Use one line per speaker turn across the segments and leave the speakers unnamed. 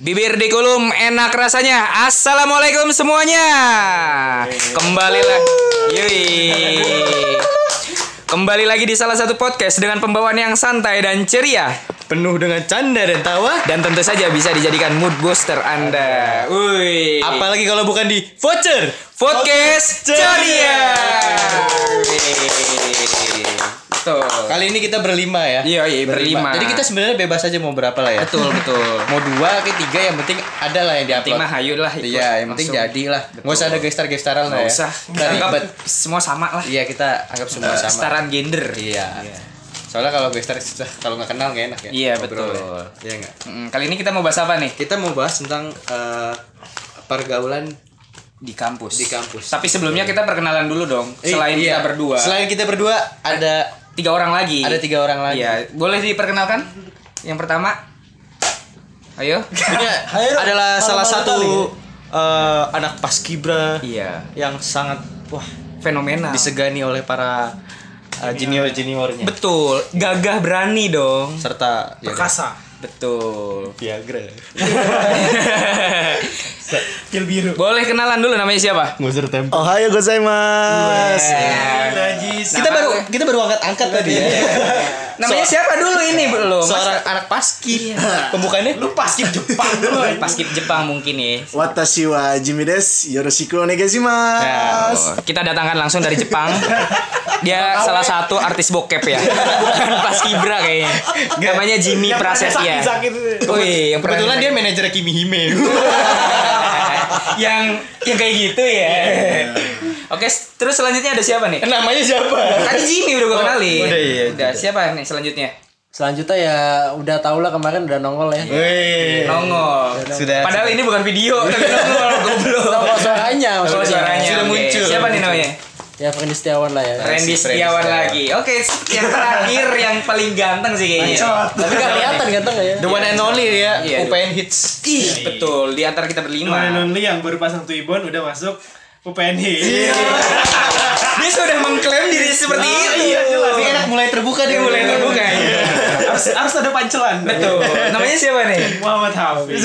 Bibir di kulum enak rasanya. Assalamualaikum semuanya. Kembali lagi. Yui. Kembali lagi di salah satu podcast dengan pembawaan yang santai dan ceria
penuh dengan canda dan tawa.
dan tentu saja bisa dijadikan mood booster Anda. Wui.
Apalagi kalau bukan di voucher.
podcast ceria? Tuh.
Kali ini kita berlima ya.
Iya, iya, berlima.
Jadi kita sebenarnya bebas aja mau berapa lah ya.
Betul, betul.
Mau dua ke tiga yang penting ada lah yang
Penting mah
diupload.
hayu lah. ikut.
Iya, yang penting
Langsung.
jadi lah. Nggak usah ada gestar-gestaran lah
Nggak
ya.
usah.
Nggak
Anggap Eh,
ribet.
semua sama lah.
Iya kita anggap semua sama.
Kesetaraan gender.
Iya. Soalnya kalau gestar kalau nggak kenal nggak enak ya.
Iya,
Ngobrol
betul.
ya. Iya nggak.
Mm, Kali ini kita mau bahas apa nih?
Kita mau bahas tentang eh, pergaulan
Di kampus.
Di kampus. Iya.
Tapi sebelumnya kita perkenalan dulu dong.
Eh,
Selain
iya.
kita berdua,
Selain kita berdua ada
tiga orang lagi.
ada tiga orang lagi.
Iya, boleh diperkenalkan? Yang pertama, ayo.
Ini
Ayo,
adalah
malam-malam
salah satu
kali ya?
eh, anak paskibra
Iya.
yang sangat wah
Fenomenal.
disegani oleh para eh, junior-juniornya
Betul. Gagah berani Iya dong.
serta ya,
Perkasa.
Betul.
Viagra.
Pil biru.
boleh kenalan dulu namanya siapa?
Nguser tempo.
Oh, hai gozaimasu.
Kita
Nama
baru
gue.
kita baru angkat-angkat tadi ya.
Namanya
So-
siapa dulu ini belum?
Seorang anak paski. Pembukaannya Iya. lu paski Jepang
Paskib Jepang mungkin ya.
Watashi wa Jimmy desu. Yoroshiku onegaishimasu.
Nah, kita datangkan langsung dari Jepang. Dia salah satu artis bokep ya. Bukan pas kibra kayaknya. Namanya Jimmy Prasetya. Wih, yang
Kebetulan dia manajer Kimi Hime. Iya.
yang yang kayak gitu ya. Oke, s- terus selanjutnya ada siapa nih?
Namanya siapa?
Tadi Jimmy udah gue kenalin.
udah, iya,
Udah, siapa nih selanjutnya?
Selanjutnya ya udah tau lah kemarin udah nongol ya.
Wih.
Nongol.
Iya, Sudah.
Padahal ini bukan video, tapi nongol goblok.
Nongol suaranya
Nongol
maksudnya.
suaranya.
Sudah
oke.
muncul.
Siapa nih namanya?
Ya Fendi Setiawan lah ya.
Randy
Randy
Setiawan
Eh, Setiawan.
lagi. Oke, yang terakhir yang paling ganteng sih kayaknya.
Tapi gak kelihatan ganteng nggak ya.
The one and only ya,
Iya,
UPN Hits.
Ih, betul. Di antara kita berlima.
Kemarin only yang baru pasang tuibon udah masuk UPN Hits.
Dia sudah mengklaim diri seperti
Ah,
itu.
iya, jelas.
Tapi enak mulai terbuka
Dia
dia Iya.
mulai terbuka. iya.
harus, harus ada pancelan.
Betul. Namanya siapa nih?
Muhammad Hafiz.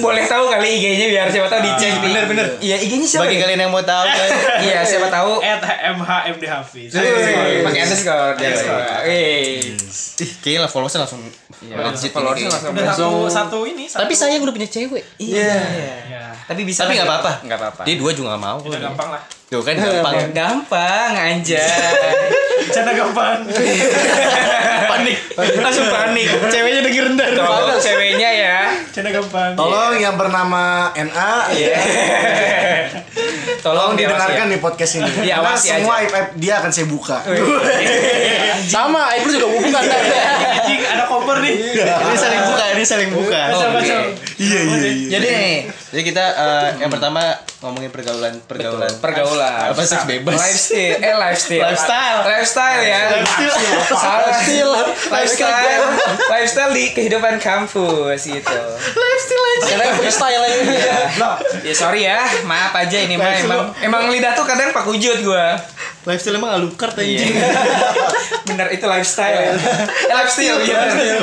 Boleh tahu kali IG-nya biar siapa tahu dicek.
Ah, bener, bener.
Iya, IG-nya siapa?
Bagi
nih?
kalian yang mau tahu kan.
Iya, siapa tahu.
At MHMD Hafiz.
Wih, Pakai
Iya,
underscore. Wih.
Ih, Kayaknya lah followersnya Iya, langsung legit
Followersnya
ini.
langsung.
Udah satu, satu ini. Satu.
Tapi sayang udah punya cewek.
Iya. Tapi bisa.
Tapi
lah.
nggak apa-apa.
Nggak apa-apa.
Dia dua juga gak mau.
Udah gampang lah.
Tuh kan gampang.
Gampang aja.
Bercanda gampang.
Panik.
langsung panik
Ceweknya udah rendah.
tolong ceweknya ya
Bercanda gampang.
Tolong yang bernama NA
Iya.
tolong
tolong didengarkan
diawasi
ya.
di podcast ini.
Iya,
Diawasi
Karena
aja.
semua aib aib dia akan saya buka.
Sama, Aib lu juga kan. bukan.
Iya.
Anjing Eh, ada kompor nih.
Ini saling buka, ini saling buka.
Baca baca.
Iya iya iya.
jadi nih
Jadi kita eh, yang pertama ngomongin pergaulan pergaulan.
pergaulan
Apa seks bebas?
lifestyle eh lifestyle
Lifestyle.
lifestyle ya Salah. lifestyle lifestyle di kehidupan kampus gitu
Karena freestyle aja.
Iya.
ya sorry ya maaf aja ini mah emang emang lidah tuh kadang pak ujud gua
Lifestyle emang alukart
Iya.
anjing.
bener itu lifestyle ya Eh, lifestyle ya bener.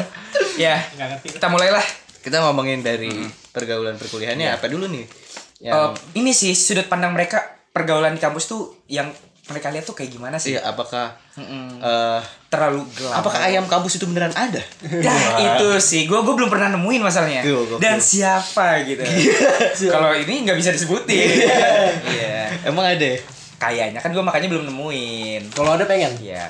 ya
Nggak ngerti.
kita mulailah
Kita ngomongin dari pergaulan perkuliahannya apa dulu nih?
Eh,
Yang
ini sih sudut pandang mereka pergaulan di kampus tuh yang mereka lihat tuh kayak gimana sih?
iya apakah
Mm-mm.
eh,
Terlalu gelap.
apakah ayam kampus itu beneran ada?
Dah itu sih, gue gue belum pernah nemuin masalahnya.
Gua- Iya, gua-
Dan siapa gitu? Kalau ini nggak bisa disebutin. Iya.
Emang ada? ya?
Kayaknya kan gue makanya belum nemuin.
Kalau ada pengen.
Iya.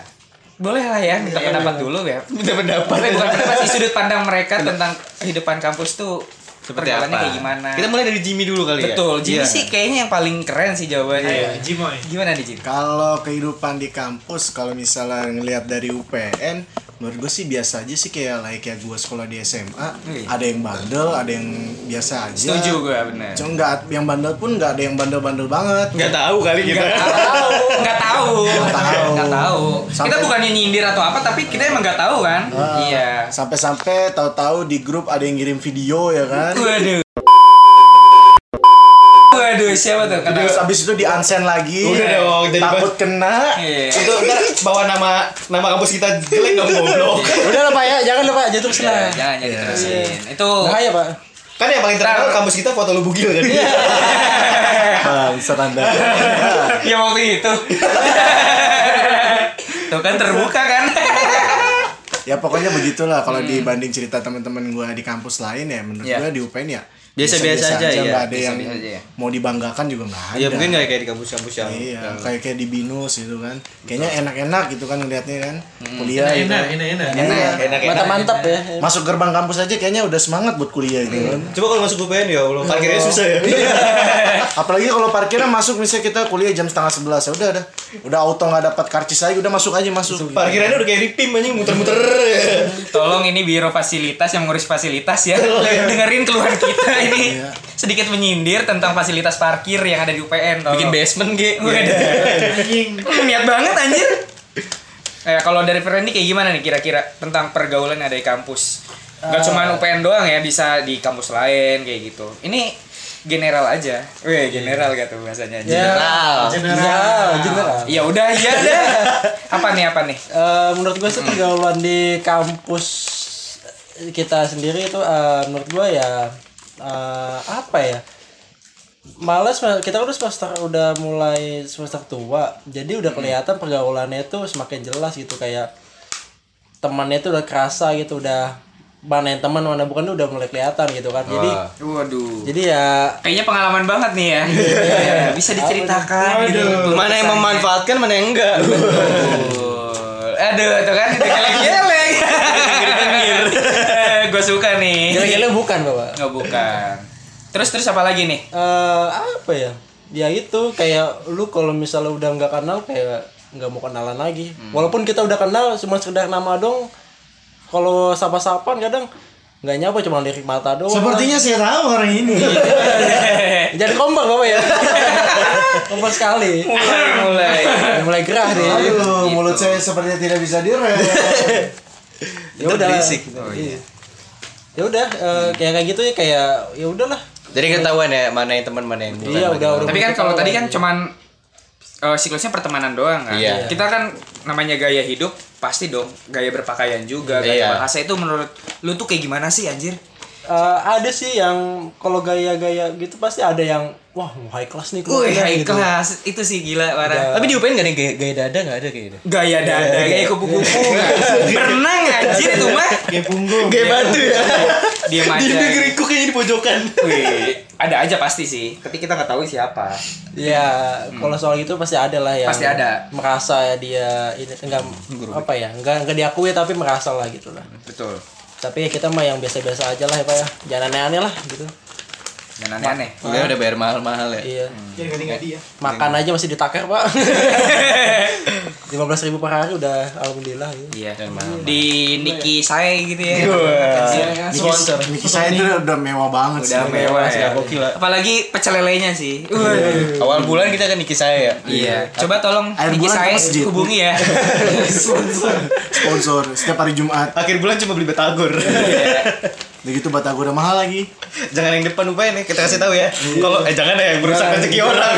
Boleh lah ya, minta pendapat dulu ya.
Iya, Minta pendapat.
Bukan pendapat sih sudut pandang mereka tentang kehidupan kampus tuh
Seperti
pergaulannya
apa?
kayak gimana?
Kita mulai dari Jimmy dulu kali ya.
Betul, jadi
Iya.
sih kayaknya yang paling keren sih jawabannya.
Ayo, Jimoy.
Gimana nih Jin?
Kalau kehidupan di kampus, kalau misalnya ngelihat dari UPN, menurut gue sih biasa aja sih kayak like ya gue sekolah di SMA,
Iya.
ada yang bandel, ada yang biasa aja.
Setuju gue bener.
Cuma nggak yang bandel pun nggak ada yang bandel-bandel banget.
Nggak tahu kali kita.
tahu nggak tahu
tahu.
nggak tahu kita
Sampai-
bukannya nyindir atau apa tapi kita emang nggak tahu kan
Ah,
iya
Sampai-sampai tahu-tahu di grup ada yang ngirim video ya kan.
waduh Waduh, siapa tuh? Kenapa?
Terus abis itu di unsend lagi.
Udah dong, jadi
takut kena.
Iya.
Itu ntar bawa nama nama kampus kita jelek dong goblok.
Udah lah Pak ya, jangan lah Pak, jatuh kesana.
Iya, Jangan jadi terusin. Itu
Bahaya Pak.
Kan yang paling terkenal kampus kita foto lu bugil kan.
Bangsa tanda.
yang Ya, waktu itu. Tuh kan terbuka kan.
ya pokoknya begitulah kalau dibanding cerita teman-teman gua di kampus lain ya menurut
Hmm. Iya.
gua di UPN ya
Biasa-biasa aja, iya.
nggak ada yang
Biasa-biasa aja, ya.
mau dibanggakan juga nggak ada
Ya mungkin nggak kayak di kampus-kampus yang
iya
yang-
kayak kayak di binus gitu kan kayaknya enak-enak gitu kan ngelihatnya kan
Hmm.
kuliah
Enak,
gitu
enak,
kan.
enak, enak.
Nah,
Iya.
enak
Mata mantap ya.
masuk gerbang kampus aja kayaknya udah semangat buat kuliah gitu kan
Hmm.
Iya.
Coba kalau masuk UPN ya
Nah,
Allah, parkirnya susah ya.
apalagi kalau parkirnya masuk misalnya kita kuliah jam setengah sebelas ya udah ada udah auto nggak dapat karcis aja udah masuk aja masuk
Parkirannya Kan udah kayak ripim anjing muter-muter.
Tolong ini biro fasilitas yang ngurus fasilitas ya. Dengerin keluhan kita ini.
Iya.
Sedikit menyindir tentang fasilitas parkir yang ada di UPN. Tolong.
Bikin basement ge. Iya.
Anjing.
Hmm, Niat banget anjir. Eh kalau dari Ferendi kayak gimana nih kira-kira tentang pergaulan yang ada di kampus? Gak cuma UPN doang ya, bisa di kampus lain kayak gitu. Ini general aja. Weh,
Iya.
general gitu bahasanya.
Iya. General. General. Ya. General.
Ya udah, iya dah. Apa nih apa nih?
Eh, menurut gue sih pergaulan di kampus kita sendiri itu eh, menurut gue ya eh, apa ya males kita udah semester udah mulai semester tua jadi udah kelihatan pergaulannya itu semakin jelas gitu kayak temannya itu udah kerasa gitu udah mana yang teman mana bukan udah mulai kelihatan gitu kan jadi
Waduh.
jadi ya
Kayaknya pengalaman banget nih ya. Iya, bisa diceritakan gitu.
Mana yang memanfaatkan, mana yang enggak.
Betul. Aduh, tuh kan geleng-geleng. Gue suka nih.
gila-gila bukan bapak
Nggak bukan. Terus terus apa lagi nih?
eh apa ya ya itu kayak lu kalau misalnya udah nggak kenal kayak nggak mau kenalan lagi
Hmm.
walaupun kita udah kenal cuma sekedar nama dong kalau sapa-sapan kadang nggak nyapa cuma lirik mata doang
sepertinya saya tahu orang ini
jadi kompak bapak ya kompak sekali
mulai mulai.
Udah mulai gerah nih
Aduh, mulut saya sepertinya tidak bisa direm.
ya udah
Oh,
Iya. ya udah eh, kayak kayak gitu ya kayak ya udahlah
Jadi ketahuan ya mana yang teman, mana yang bukan.
Iya, udah, udah.
Tapi kan kalau tadi kan cuman eh, siklusnya pertemanan doang kan.
Iya.
Kita kan namanya gaya hidup pasti dong gaya berpakaian juga gaya
Iya.
bahasa itu menurut lu tuh kayak gimana sih anjir?
Eh, ada sih yang kalau gaya-gaya gitu pasti ada yang wah high class nih
Wih,
keluarga,"
high
gitu.
class itu sih gila parah.
Tapi di UPN gak ada yang gaya, gaya dada gak ada kayaknya.
Gaya dada, gaya kupu-kupu. Berenang anjir itu mah.
Kayak punggung.
Gaya batu ya.
Dia
Di
aja.
negeriku kayaknya di pojokan.
Wih, ada aja pasti sih. Tapi kita nggak tahu siapa.
Ya, kalau soal itu pasti ada lah yang
Hmm. Pasti ada.
merasa ya dia ini enggak apa ya, enggak enggak diakui tapi merasa lah gitu lah.
Betul.
Tapi ya kita mah yang biasa-biasa aja lah ya Pak ya. Jangan aneh-aneh lah gitu.
Dan aneh-aneh.
Gue udah bayar mahal-mahal ya.
Iya.
Hmm.
Jadi nggak tinggal dia.
Makan
Iya.
aja masih ditakar, Pak. 15.000 ribu per hari udah alhamdulillah gitu.
Iya. Di Niki saya gitu ya.
Sponsor.
Niki saya itu udah mewah banget
Udah
sih.
mewah ya.
Ya, gokil lah.
Apalagi pecel lelenya sih.
Awal bulan kita kan nikah saya ya.
Iya. Coba tolong
Air
Niki
bulan ke
saya
masjid.
hubungi ya.
Sponsor setiap hari Jumat.
Akhir bulan cuma beli batagor. Iya.
Udah gitu Batagor udah mahal lagi.
jangan yang depan UPN ya, kita kasih tahu ya. Kalau eh jangan ya yang merusak rezeki orang.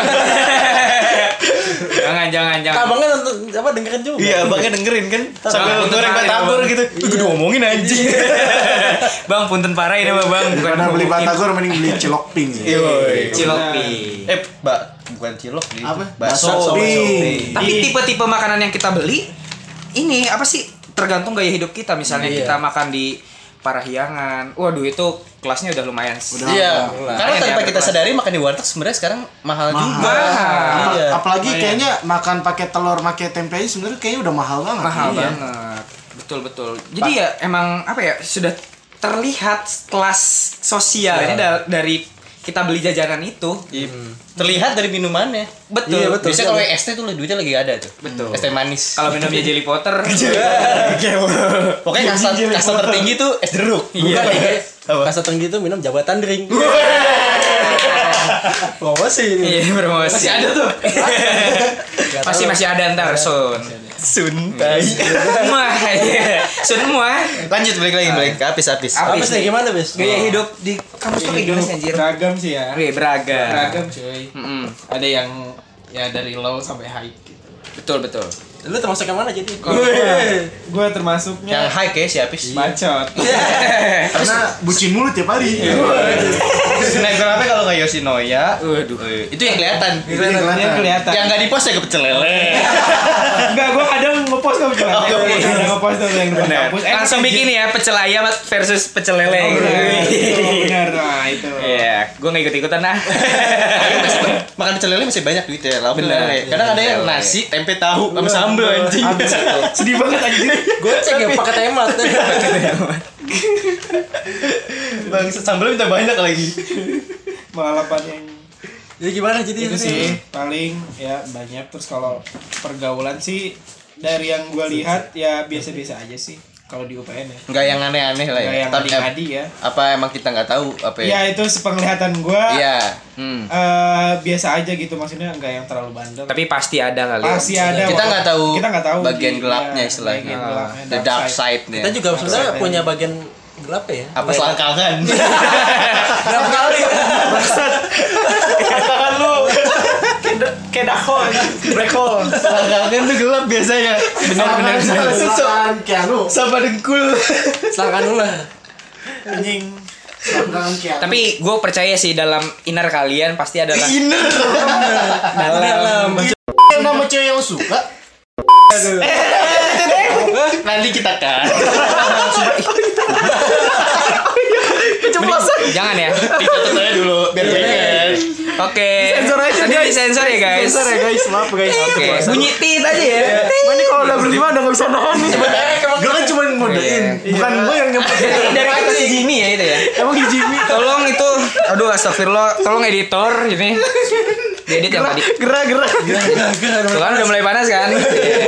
jangan jangan jangan.
Abangnya nonton apa dengerin juga.
Iya, abangnya dengerin kan sambil
Jangan
goreng
dengerin,
batagor gitu. Ih, Gue ngomongin anjing.
Iya. Bang punten parah ini Bang, Bang. Bukan
Karena beli
hubungin.
Batagor mending beli cilok pink.
Iya, woy.
Cilok pi.
Eh, mbak, bukan cilok nih.
Apa?
Bakso.
Bakso.
bakso.
Ih.
Tapi tipe-tipe makanan yang kita beli ini apa sih? Tergantung gaya hidup kita. Misalnya
Iya.
kita makan di Parahyangan. Waduh itu kelasnya udah lumayan.
Udah
Iya.
mahal.
Karena
Iya,
tanpa
iya,
kita
betul.
sadari makan di warteg sebenarnya sekarang mahal,
Mahal.
juga.
Mahal.
Apa-
Iya.
Apalagi kayaknya makan pakai telur, pakai tempe aja sebenarnya kayaknya udah mahal banget.
mahal
Iya.
banget betul betul jadi ya emang apa ya sudah terlihat kelas sosialnya da- dari kita beli jajanan itu
Iya.
Hmm.
Terlihat dari minumannya.
betul
Iya, betul.
Biasanya
E.
kalau es teh tuh duitnya lagi ada tuh.
Betul. Ah,
Es teh manis.
kalau minumnya Jelly Potter
Pokoknya kasta kasta tertinggi tuh es jeruk.
Bukan
Iya.
ya.
Apa?
Kasta tinggi itu minum jabatan drink. Promosi ini.
iya promosi masih ada tuh
Nggak
masih
tahu.
masih ada ntar Sun
Suntai.
Mah, Hmm. iya. semua
Lanjut balik lagi, balik ke apis apis.
Apis.
Apa sih gimana bis? Oh.
gaya Iya, hidup di kampus tuh kayak gimana sih anjir
Beragam sih ya.
Oke, beragam
Beragam cuy.
Mm-mm.
Ada yang ya dari low sampai high gitu.
betul betul
Lu termasuk yang mana jadi?
Kalau gua, gua termasuknya
Yang Eh, high kayak si apis.
Iya.
bacot.
Karena bucin mulut tiap hari. Iya,
Snapgramnya kalau nggak Yoshinoya,
waduh
itu yang kelihatan.
Itu yang kelihatan.
Yang
Oh,
kelihatan.
Yang nggak di post ya kepecel lele.
Enggak, gua kadang ngepost tuh bilang.
Oh,
Kadang
ngepost.
ngepost tuh yang di
Benar.
kampus. Eh,
Langsung bikin ya pecel ayam versus pecel lele.
Oh,
gitu.
benar. Oh, Benar, nah itu.
Iya, gue gak ikut ikutan ah.
Makan pecel lele masih banyak duit ya, lauk
Bener.
lele. Kadang ada yang nasi, tempe tahu, sama sambel anjing.
Sedih banget anjing.
Gue cek ya pakai temat.
Bang, sambelnya minta banyak lagi.
Pengalaman yang
Jadi gimana jadi
itu sih paling ya banyak terus kalau pergaulan sih dari yang gue lihat ya biasa-biasa aja sih kalau di UPN ya
Nggak yang aneh-aneh lah ya.
nggak yang
Iya, Tapi em-
adi-adi ya
apa emang kita nggak tahu apa ya?
ya itu sepenglihatan gue
Iya.
Hmm.
biasa aja gitu maksudnya nggak yang terlalu bandel
Tapi pasti ada kali. ya.
pasti ada
Iya. Kita nggak tahu
kita nggak tahu
bagian
di-
gelapnya
ya,
istilahnya. Ah,
bagian gelapnya,
The dark side-nya.
Kita juga sebenarnya punya bagian gelap ya.
apa selangkangan?
Gelap kali.
kayak dako aja. black hole
selangkangan tuh gelap biasanya.
Benar-benar.
Selatan Kianu,
Sama dengkul.
Silakan dulu lah.
anjing
selatan Kianu.
Tapi gue percaya sih dalam inner kalian pasti ada lah.
Inner.
Dalam.
Yang nama cewek yang suka
Nanti kita kan.
Jangan ya.
Dicatat aja dulu Iya. biar pengen.
Oke. Sensor aja Tadi guys. Sensor ya guys.
Bentar ya guys, maaf guys
Oke. Bunyi tit Eh, aja ya.
Ini kalau udah berlima udah gak bisa nahan nih Gue kan cuma ngodein Bukan gue yang nyempetin
Iya. Dari kita si Jimmy ya itu ya.
Emang di Jimmy
Tolong itu. Aduh astagfirullah. Tolong editor ini. Diedit yang tadi.
Gerak-gerak
Tuh kan udah mulai panas kan?
Iya.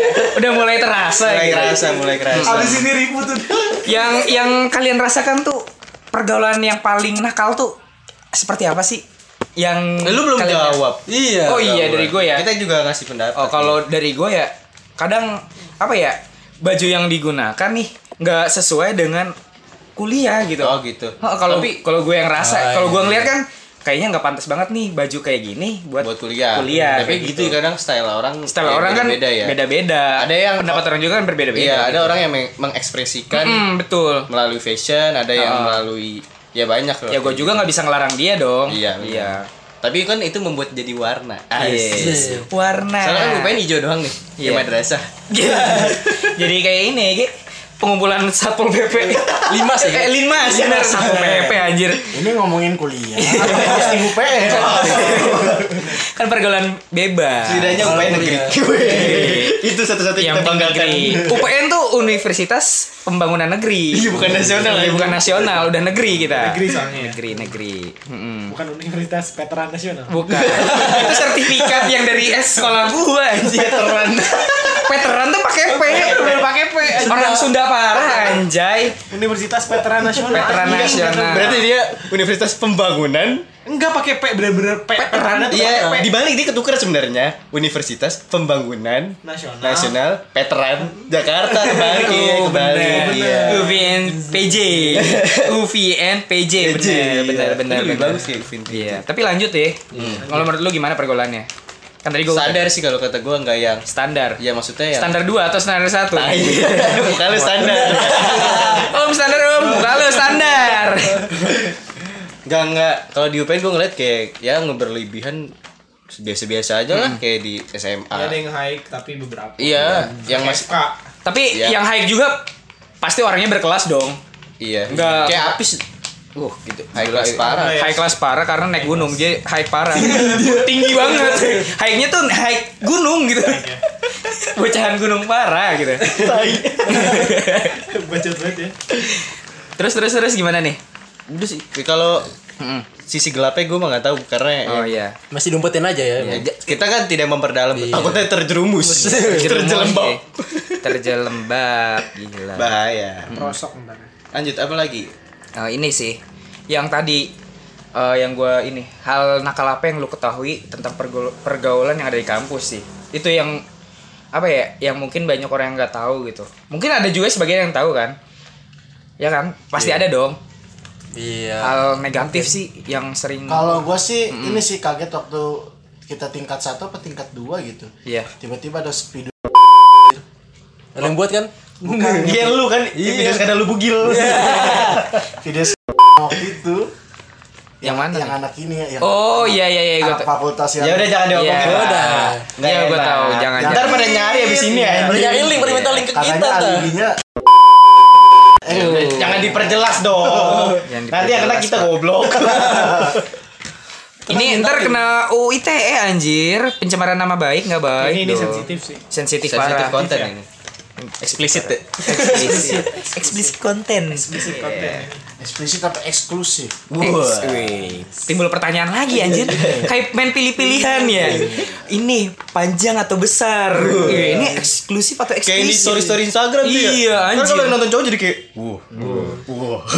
udah mulai terasa.
Mulai
gitu.
kerasa, mulai kerasa.
Abis ini ribut tuh
Yang yang kalian rasakan tuh pergaulan yang paling nakal tuh seperti apa sih? Yang
Eh, Lu belum
kalian-
jawab.
Iya.
Oh iya dari gue ya.
Kita juga ngasih pendapat.
Oh kalau dari gue ya kadang apa ya baju yang digunakan nih nggak sesuai dengan kuliah gitu.
Oh, Ah, gitu.
Oh, kalau kalau gue yang rasa,
Oh,
kalau gue
iya.
ngeliat kan kayaknya nggak pantas banget nih baju kayak gini buat,
buat kuliah.
Kuliah.
Tapi
kayak
gitu kadang style orang.
Style
eh,
orang kan
beda ya.
beda-beda.
Ada yang-
pendapat orang juga kan berbeda-beda.
Iya, ada
gitu.
orang yang meng- mengekspresikan
Mm, betul.
melalui fashion, ada yang
Oh.
melalui ya banyak loh.
Ya gue juga nggak bisa ngelarang dia dong.
Iya, benar.
Iya.
Tapi kan itu membuat jadi warna.
Yes.
Asik.
Warna.
Soalnya kan UPN hijau doang nih. Di
Ah. Iya.
madrasah.
Jadi kayak ini, Ki. pengumpulan satpol pp lima sih eh, lima sih bener satpol pp anjir
Ini ngomongin kuliah Atau posting UPN
kan pergaulan bebas
Setidaknya
Kalau
UPN negeri.
kuliah.
itu satu-satunya
yang
kita banggakan.
negeri UPN tuh universitas pembangunan negeri
Iya, bukan nasional
Iya,
ya.
bukan nasional udah negeri kita
Negeri soalnya ya.
negeri negeri Mm-mm.
Hmm.
bukan universitas veteran nasional
bukan itu sertifikat yang dari S sekolah gua anjir
Veteran.
veteran tuh pakai P udah pakai P orang Sunda parah anjay
universitas veteran nasional Iya,
Veteran
anjing.
nasional.
Berarti dia universitas pembangunan.
enggak pakai p bener-bener p veteran itu
Iya,
pakai P.
di Bali dia ketukar sebenarnya. Universitas Pembangunan
Nasional.
Nasional Veteran Jakarta kebalik ya,
Oh,
kebalik.
bener.
Iya.
UVN PJ. UVN PJ.
PJ, iya.
Bener, benar
Itu lebih
benar.
bagus Hmm. ya, UVN PJ.
Iya, tapi lanjut ya. Kalau menurut lu gimana pergaulannya? Kan tadi gua
Sadar sih kalau kata gua nggak yang
standar.
ya maksudnya yang
Standar 2 atau standar 1?
Tai. Bukan lu standar.
om standar om, bukan lu standar.
Enggak enggak. Kalau di UPN gua ngeliat kayak ya ngeberlebihan biasa-biasa aja lah kayak di SMA.
ada yang high tapi beberapa
Iya, yang masih
SK
Tapi
Iya.
yang high juga pasti orangnya berkelas dong.
iya.
Nggak-
Kayak apis
Uh, gitu.
high class
Oh,
parah.
iya.
High class parah karena naik gunung dia high parah. Tinggi banget. High-nya tuh high gunung gitu. Bocahan gunung parah gitu.
bacot banget ya
Terus terus terus gimana nih? Hmm.
Udah sih. Kalau sisi gelapnya gua mah nggak tahu karena
Oh
ya,
iya.
Masih dumpetin aja ya.
Ya, j- kita kan tidak memperdalam
Iya.
takutnya terjerumus
iya.
terjelembab
Terjelembab gila.
bahaya
rosok ntar
lanjut apa lagi
Eh, ini sih yang tadi eh, yang gua ini hal nakal apa yang lu ketahui tentang pergaul- pergaulan yang ada di kampus sih. Itu yang apa ya yang mungkin banyak orang yang nggak tahu gitu mungkin ada juga sebagian yang tahu kan ya kan pasti ada dong
Iya.
hal negatif sih yang sering
Kalau gua sih ini sih kaget waktu kita tingkat satu apa tingkat dua gitu.
Iya.
Tiba-tiba ada speedo.
Ada yang buat kan?
Iya lu kan, iya. video sekadar lu bugil.
Video s- waktu itu.
Yang mana
Yang
nih?
anak ini ya. Yang
oh iya iya iya gue
anak fakultas yang.
Ya udah jangan diomongin.
Iya.
lah.
Udah.
Nggak
Iya, gua
enak.
tahu, jangan,
Ntar
jangan.
pada nyari abis ini ya.
Pada nyari link, pada minta link
gitu,
ke kita
Katanya
tuh.
alibinya
Jangan diperjelas dong.
Jangan
Nanti yang kena
diperjelas,
kita
Pak.
goblok.
ini ntar kena UITE eh, anjir pencemaran nama baik nggak baik
ini ini
dong.
sensitif sih
sensitif
Sensitif
parah Iya.
konten ya? ini. Eksplisit ya.
eksplisit eksplisit konten eksplisit
konten.
eksplisit apa eksklusif?
Ex- wih, timbul pertanyaan lagi anjir kayak main pilih-pilihan ya ini panjang atau besar Wih, ini eksklusif atau
Kayak di
eksklusif
story-story Instagram tuh ya.
Iya,
Kan kalau
anjir.
yang nonton cowok jadi kayak, wuh.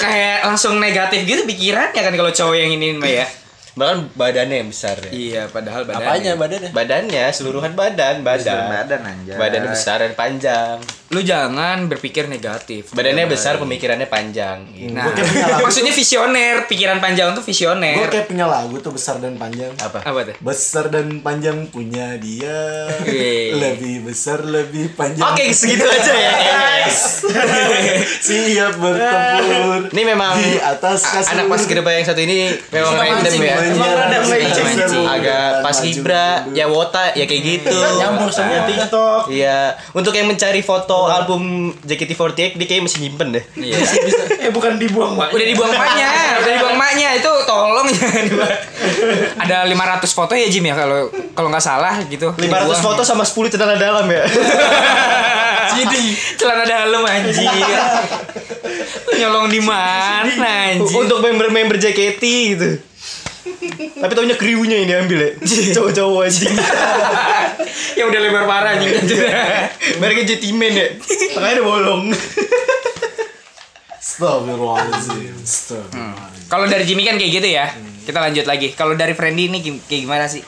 kayak langsung negatif gitu pikirannya kan kalau cowok yang ini mah ya
Bahkan badannya yang besar ya.
iya padahal badannya
Apanya badannya?
Badannya, seluruhan badan, badan.
Seluruh badan, anjay.
Badannya besar dan panjang.
lu jangan berpikir negatif
Badannya besar, pemikirannya panjang. Iya.
nah maksudnya visioner pikiran panjang tuh
Gue
visioner
kayak punya lagu tuh besar dan panjang.
Apa?
apa tuh
Besar dan panjang punya dia.
Iya.
Yeay.
lebih besar lebih panjang.
Oke, segitu aja ya. Guys.
Siap bertempur.
Ini memang
di atas
a-
kasur.
anak pas kedeba yang satu ini memang random
Iya.
ya.
Menyerang
rada melenceng.
seru.
Agak pas
Maju
Ibra,
mundur.
ya wota, ya kayak gitu.
Nyampur semua.
TikTok
Iya, untuk yang mencari foto album JKT48 dia kayak masih nyimpen deh.
eh bukan dibuang mak
Udah dibuang maknya, udah dibuang maknya itu tolong jangan dibuang. Ada 500 foto ya Jim ya kalau kalau nggak salah gitu.
500 foto sama 10 celana dalam ya.
Jadi celana dalam anjir. Lu nyolong di mana anjir?
Untuk member-member JKT gitu. Tapi taunya kriunya ini ambil ya. Cowok-cowok anjing.
ya udah lebar parah anjing.
Mereka jadi men ya. Tangannya ada bolong.
Astagfirullahaladzim. Astagfirullahaladzim.
kalau dari Jimmy kan kayak gitu ya. Kita lanjut lagi. Kalau dari Friendly ini gim- kayak gimana sih?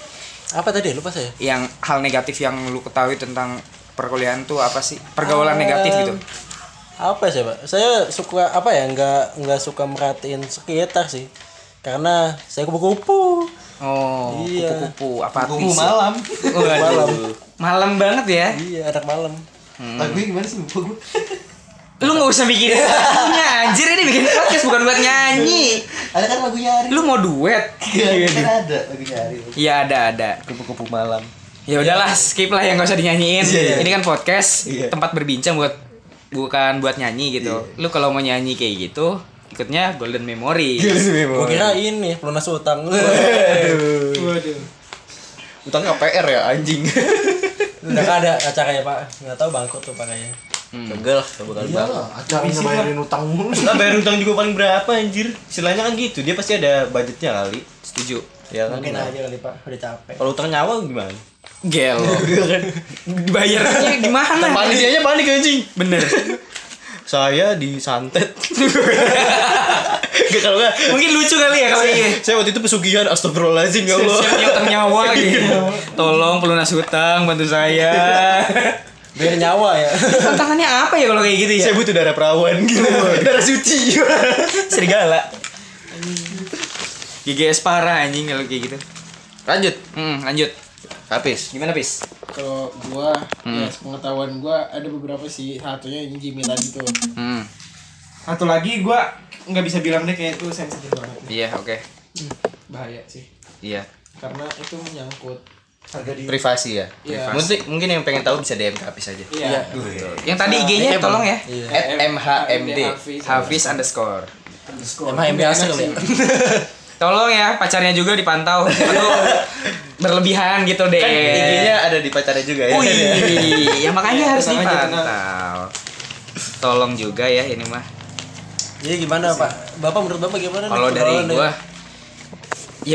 Apa tadi? Lupa saya.
Yang hal negatif yang lu ketahui tentang perkuliahan tuh apa sih? Pergaulan negatif gitu.
Em, Apa sih, Pak? Saya suka apa ya? Nggak nggak suka merhatiin sekitar sih. Karena saya kupu-kupu.
Oh,
Iya.
kupu-kupu apa
Kupu malam
Malam. Malam banget ya.
Iya, anak malam.
lagu gimana sih lupa gue
Lu nggak usah bikin lagunya anjir ini bikin podcast bukan buat nyanyi.
ada kan lagunya hari
Lu mau duet? Iya,
ada lagunya hari
Iya ada ada.
Kupu-kupu malam.
Ya udahlah skip lah yang nggak usah dinyanyiin.
Iya.
Ini kan podcast
Iya.
tempat berbincang buat bukan buat nyanyi gitu. Lu kalau mau nyanyi kayak gitu ikutnya Golden Memory.
Iya.
Gua kira ini pelunas utang.
waduh
Utangnya PR ya anjing.
Udah nggak ada acaranya, Pak. Nggak tahu bangkrut tuh Pak kayaknya.
Enggak lah, Hmm. bakal
iya.
banget.
Iyalah, acaranya bayarin utang mulu.
Lah bayar utang juga paling berapa anjir? Istilahnya kan gitu, dia pasti ada budgetnya kali.
Setuju.
Ya kan.
Mungkin aja kali, Pak. Udah capek.
Kalau utang nyawa gimana?
Gelo.
Iya,
Dibayarnya gimana?
Panitianya panik anjing.
Bener.
Saya disantet. Gak kalau nggak
Mungkin lucu kali ya kalau ini.
saya waktu itu pesugihan astagfirullahaladzim ya Allah.
Siap nyutang nyawa gitu. Tolong pelunas hutang bantu saya.
Biar nyawa ya.
Tantangannya apa ya kalau kayak gitu ya?
Saya butuh darah perawan gitu. darah suci.
Serigala. GGS parah anjing kalau kayak gitu.
Lanjut.
Hmm, lanjut.
Habis. Gimana, Pis?
kalau gua ya pengetahuan gua ada beberapa sih satunya ini Jimmy tadi tuh
Hmm.
satu lagi gua nggak bisa bilang deh kayak itu sensitif banget
Iya, oke.
bahaya sih
Iya.
karena itu menyangkut harga diri
Privasi ya.
Iya.
Mungkin mungkin yang pengen tahu bisa DM ke Habis aja.
iya
Yang tadi IG-nya tolong ya.
Iya.
At MHMD.
Hafiz underscore.
Emang yang biasa kali ya.
Tolong ya pacarnya juga dipantau. Perlu berlebihan gitu deh.
Kan IG-nya ada di pacarnya juga
Oh,
ya.
iya. Wih, ya makanya harus
tenang aja,
dipantau. Tolong juga ya ini mah.
Jadi gimana, Pak? Bapak menurut Bapak gimana? nih
Kalau dari
pergaulan
gua
nih?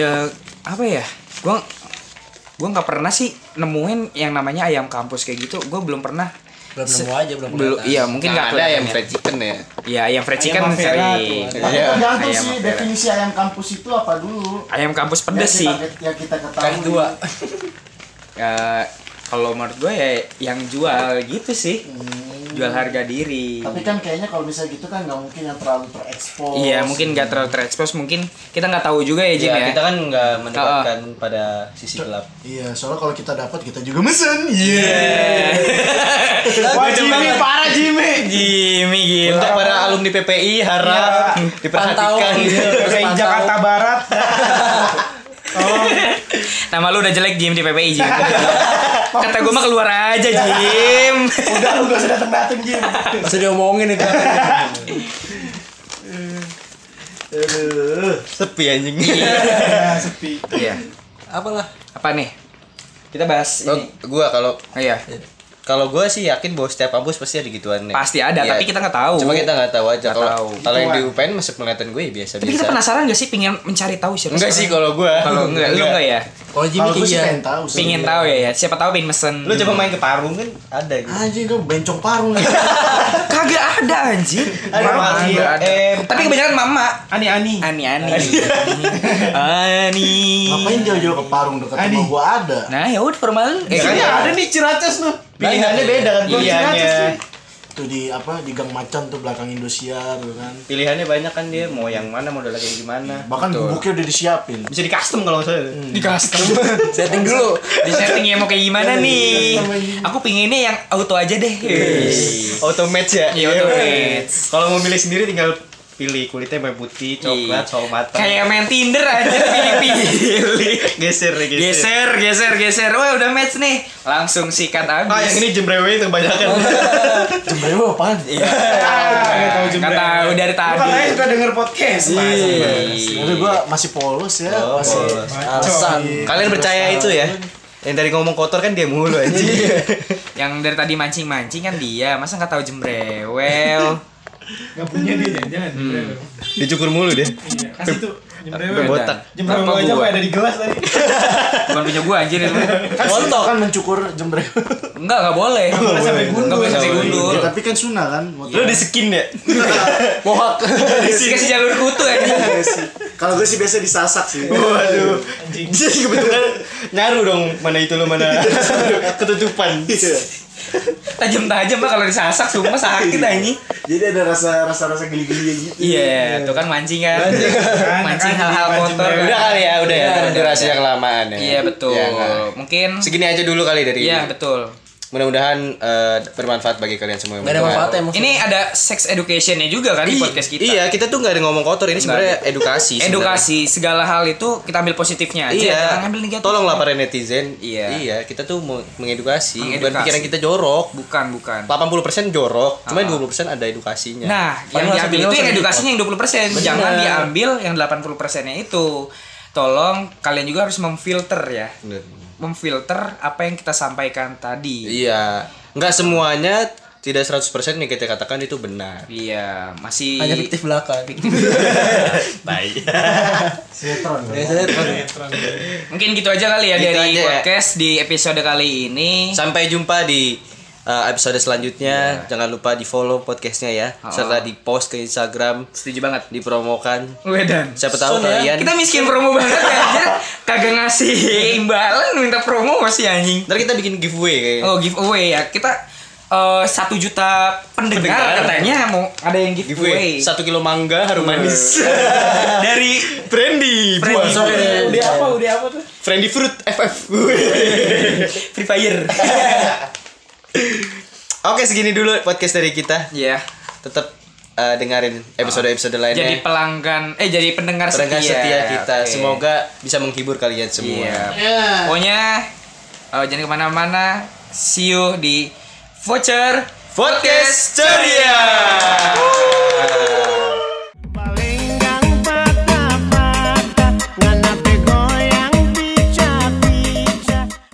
ya apa ya? Gua gua nggak pernah sih nemuin yang namanya ayam kampus kayak gitu. Gua belum pernah.
belum
se-
nemu aja, belum
Belum
kelihatan.
iya, mungkin nggak
Nggak Nah, ada yang
kelihatan
fried chicken ya.
ya. Iya, ayam fried chicken
Avera
sering.
tuh ada.
Tapi
Iya.
tergantung
Ayam
sih
apa,
definisi ayam kampus itu apa dulu. Iya,
Ayam kampus pedes
Yang
sih.
kita- Yang kita ketahui.
Kaki dua.
Eh, kalau menurut gue ya yang jual gitu sih jual harga diri
Tapi kan kayaknya kalau misalnya gitu kan nggak mungkin yang terlalu terekspos.
iya mungkin gak terlalu terekspos mungkin kita nggak tahu juga ya Jim ya,
Ya, kita kan nggak mendekatkan pada sisi gelap.
Iya, soalnya kalau kita dapat kita juga mesen. Iya.
Iya. Wah Jimmy parah Jimmy.
Jimmy gila
Untuk
Iya.
para alumni PPI harap diperhatikan.
Iya,
pantau.
Kayak Jakarta Barat.
nama lu udah jelek Jim di PPI Jim kata gue mah keluar aja Jim
Udah lu gak usah dateng dateng Jim.
Masih diomongin itu.
Sepi anjing.
Ya, sepi.
iya
Apalah.
apa nih kita bahas
Oh,
ini
gua kalau
oh, iya
kalau gua sih yakin bahwa setiap kampus pasti ada gituannya.
pasti ada
Iya.
tapi kita nggak tahu
Cuma kita nggak tahu aja
Nggak tahu.
kalau kalau yang di
Gituan.
UPN masih penglihatan gue ya biasa-biasa.
tapi kita penasaran gak sih pengen mencari tahu siapa
Enggak sih
sebenarnya?
kalau gua.
kalau enggak lu enggak ya
Kalau Jimmy
Kalau gue sih
iya.
pengen tahu sih.
pingin tahu ya, ya siapa tahu pengen mesen
Lu coba main ke Parung kan ada gitu.
Anjing gue bencong parung.
Iya. Kan kagak ada anjing
Mama,
Kagak ada.
eh,
tapi kebanyakan mama
Ani Ani.
ani ani ani
Ngapain jauh-jauh ke parung dekat
Ani.
rumah gue ada.
nah ya udah rumah lu eh,
Iya.
Iya ada nih Ciracas Iya. lu.
Pilihannya beda kan
Gua Ciracas
pilihannya.
nih.
Tuh di apa di Gang Macan tuh belakang Indosiar tuh kan.
Pilihannya banyak kan dia mau yang mana modelnya kayak gimana.
Bahkan bubuknya udah disiapin.
Bisa di custom kalau nggak salah.
di custom setting dulu di settingnya mau kayak gimana nih aku pinginnya yang auto aja deh
iya, Auto match ya.
Iya, auto match.
Kalau mau milih sendiri tinggal pilih kulitnya mau putih, coklat, sawo matang.
kayak main Tinder aja
iya.
pilih-pilih
geser ya, geser.
geser geser geser wah udah match nih langsung sikat abis
Ah, yang ini jembrewenya itu kebanyakan.
Jembrewel apaan?
Ah, nggak tahu Iya.
Nggak tahu dari
Lu
tadi
katanya suka denger podcast. Mas.
Tapi gue masih polos ya. masih
Alasan.
Kalian percaya itu ya? Yang tadi ngomong kotor kan dia mulu anjing.
yang dari tadi mancing-mancing kan dia masa nggak tahu jembrewel
Gak punya dia jangan.
Dicukur mulu dia.
Iya, kasih tuh.
Sampai
Jembrewel.
botak.
Jembrewel
Apa
aja
gua?
gua ada di gelas tadi.
bukan punya gua anjir itu
Contoh kan mencukur jembrewel.
enggak nggak boleh nggak
boleh sampai gundur.
boleh sampai gundur
Ya, tapi kan sunah kan.
Lu di skin ya?
Mohak.
kasih jalur kutu anjir
iya, Kalau gue sih biasa disasak sih. Iya.
Waduh.
Anjing.
Jadi kebetulan nyaru dong mana itu lu mana ketutupan.
Iya.
tajam-tajam lah kalau disasak sumpah sakit anjing
Jadi ada rasa rasa rasa geli-geli gitu.
iya tuh kan mancing kan mancing
Kan,
hal-hal
mancing
kotor
jembrewel.
Udah
kan.
kali ya, udah ya.
Iya,
karena
udah,
Durasinya kelamaan ya.
iya betul
Iya, nggak?
mungkin
Segini aja dulu kali dari
iya
ini.
betul
Mudah-mudahan eh, bermanfaat bagi kalian semua. yang
Gak ada
mendengar.
manfaatnya emang.
ini ada sex educationnya juga kan di
I-
podcast kita Iya,
Iya, kita tuh nggak ada ngomong kotor. Ini sebenarnya edukasi. sebenarnya.
edukasi segala hal itu kita ambil positifnya aja jangan
Iya.
ambil negatifnya.
Tolonglah para netizen.
Iya.
Iya, kita tuh mau mengedukasi. Bukan
Mengedukasi.
pikiran kita jorok.
bukan bukan
80% jorok, cuma
Ah.
20% ada edukasinya.
Nah, yang diambil
Padahal
itu
sebenarnya
yang
sebenarnya
edukasinya yang 20%. Jangan diambil yang 80%-nya itu. Tolong kalian juga harus memfilter ya.
Bener.
Memfilter apa yang kita sampaikan tadi.
Iya. Nggak semuanya tidak 100% yang kita katakan itu benar.
Iya, masih
Hanya fiktif belaka.
Baik.
Sinetron. kan?
Biasanya
Mungkin gitu aja kali ya
Gitu
dari
aja ya.
podcast di episode kali ini.
Sampai jumpa di uh, episode
Iya.
selanjutnya. Jangan lupa di follow podcastnya ya, serta di post ke Instagram,
Setuju banget.
dipromokan.
Wedan.
Siapa tahu
Sun ya.
kalian.
Kita miskin promo banget ya anjir. Kagak ngasih imbalan minta promo masih anjing.
Ntar kita bikin giveaway kayaknya.
Oh, giveaway ya. Kita eh, satu juta pendengar,
Pendengar.
katanya mau ada yang giveaway. Iya.
Giveaway. Satu kilo mangga harum manis.
dari
Brandy, buah.
Brandy.
Sorry.
Udah apa? Udah apa tuh?
Brandy fruit FF.
Free Fire.
Oke, segini dulu podcast dari kita.
Ya.
Tetap uh, dengerin episode-episode lainnya.
Ah. Jadi pelanggan eh jadi pendengar,
Pendengar
setia.
setia kita
Oke.
semoga bisa menghibur kalian semua.
Iya. Pokoknya eh, jangan kemana-mana. See you di voucher
Podcast ceria.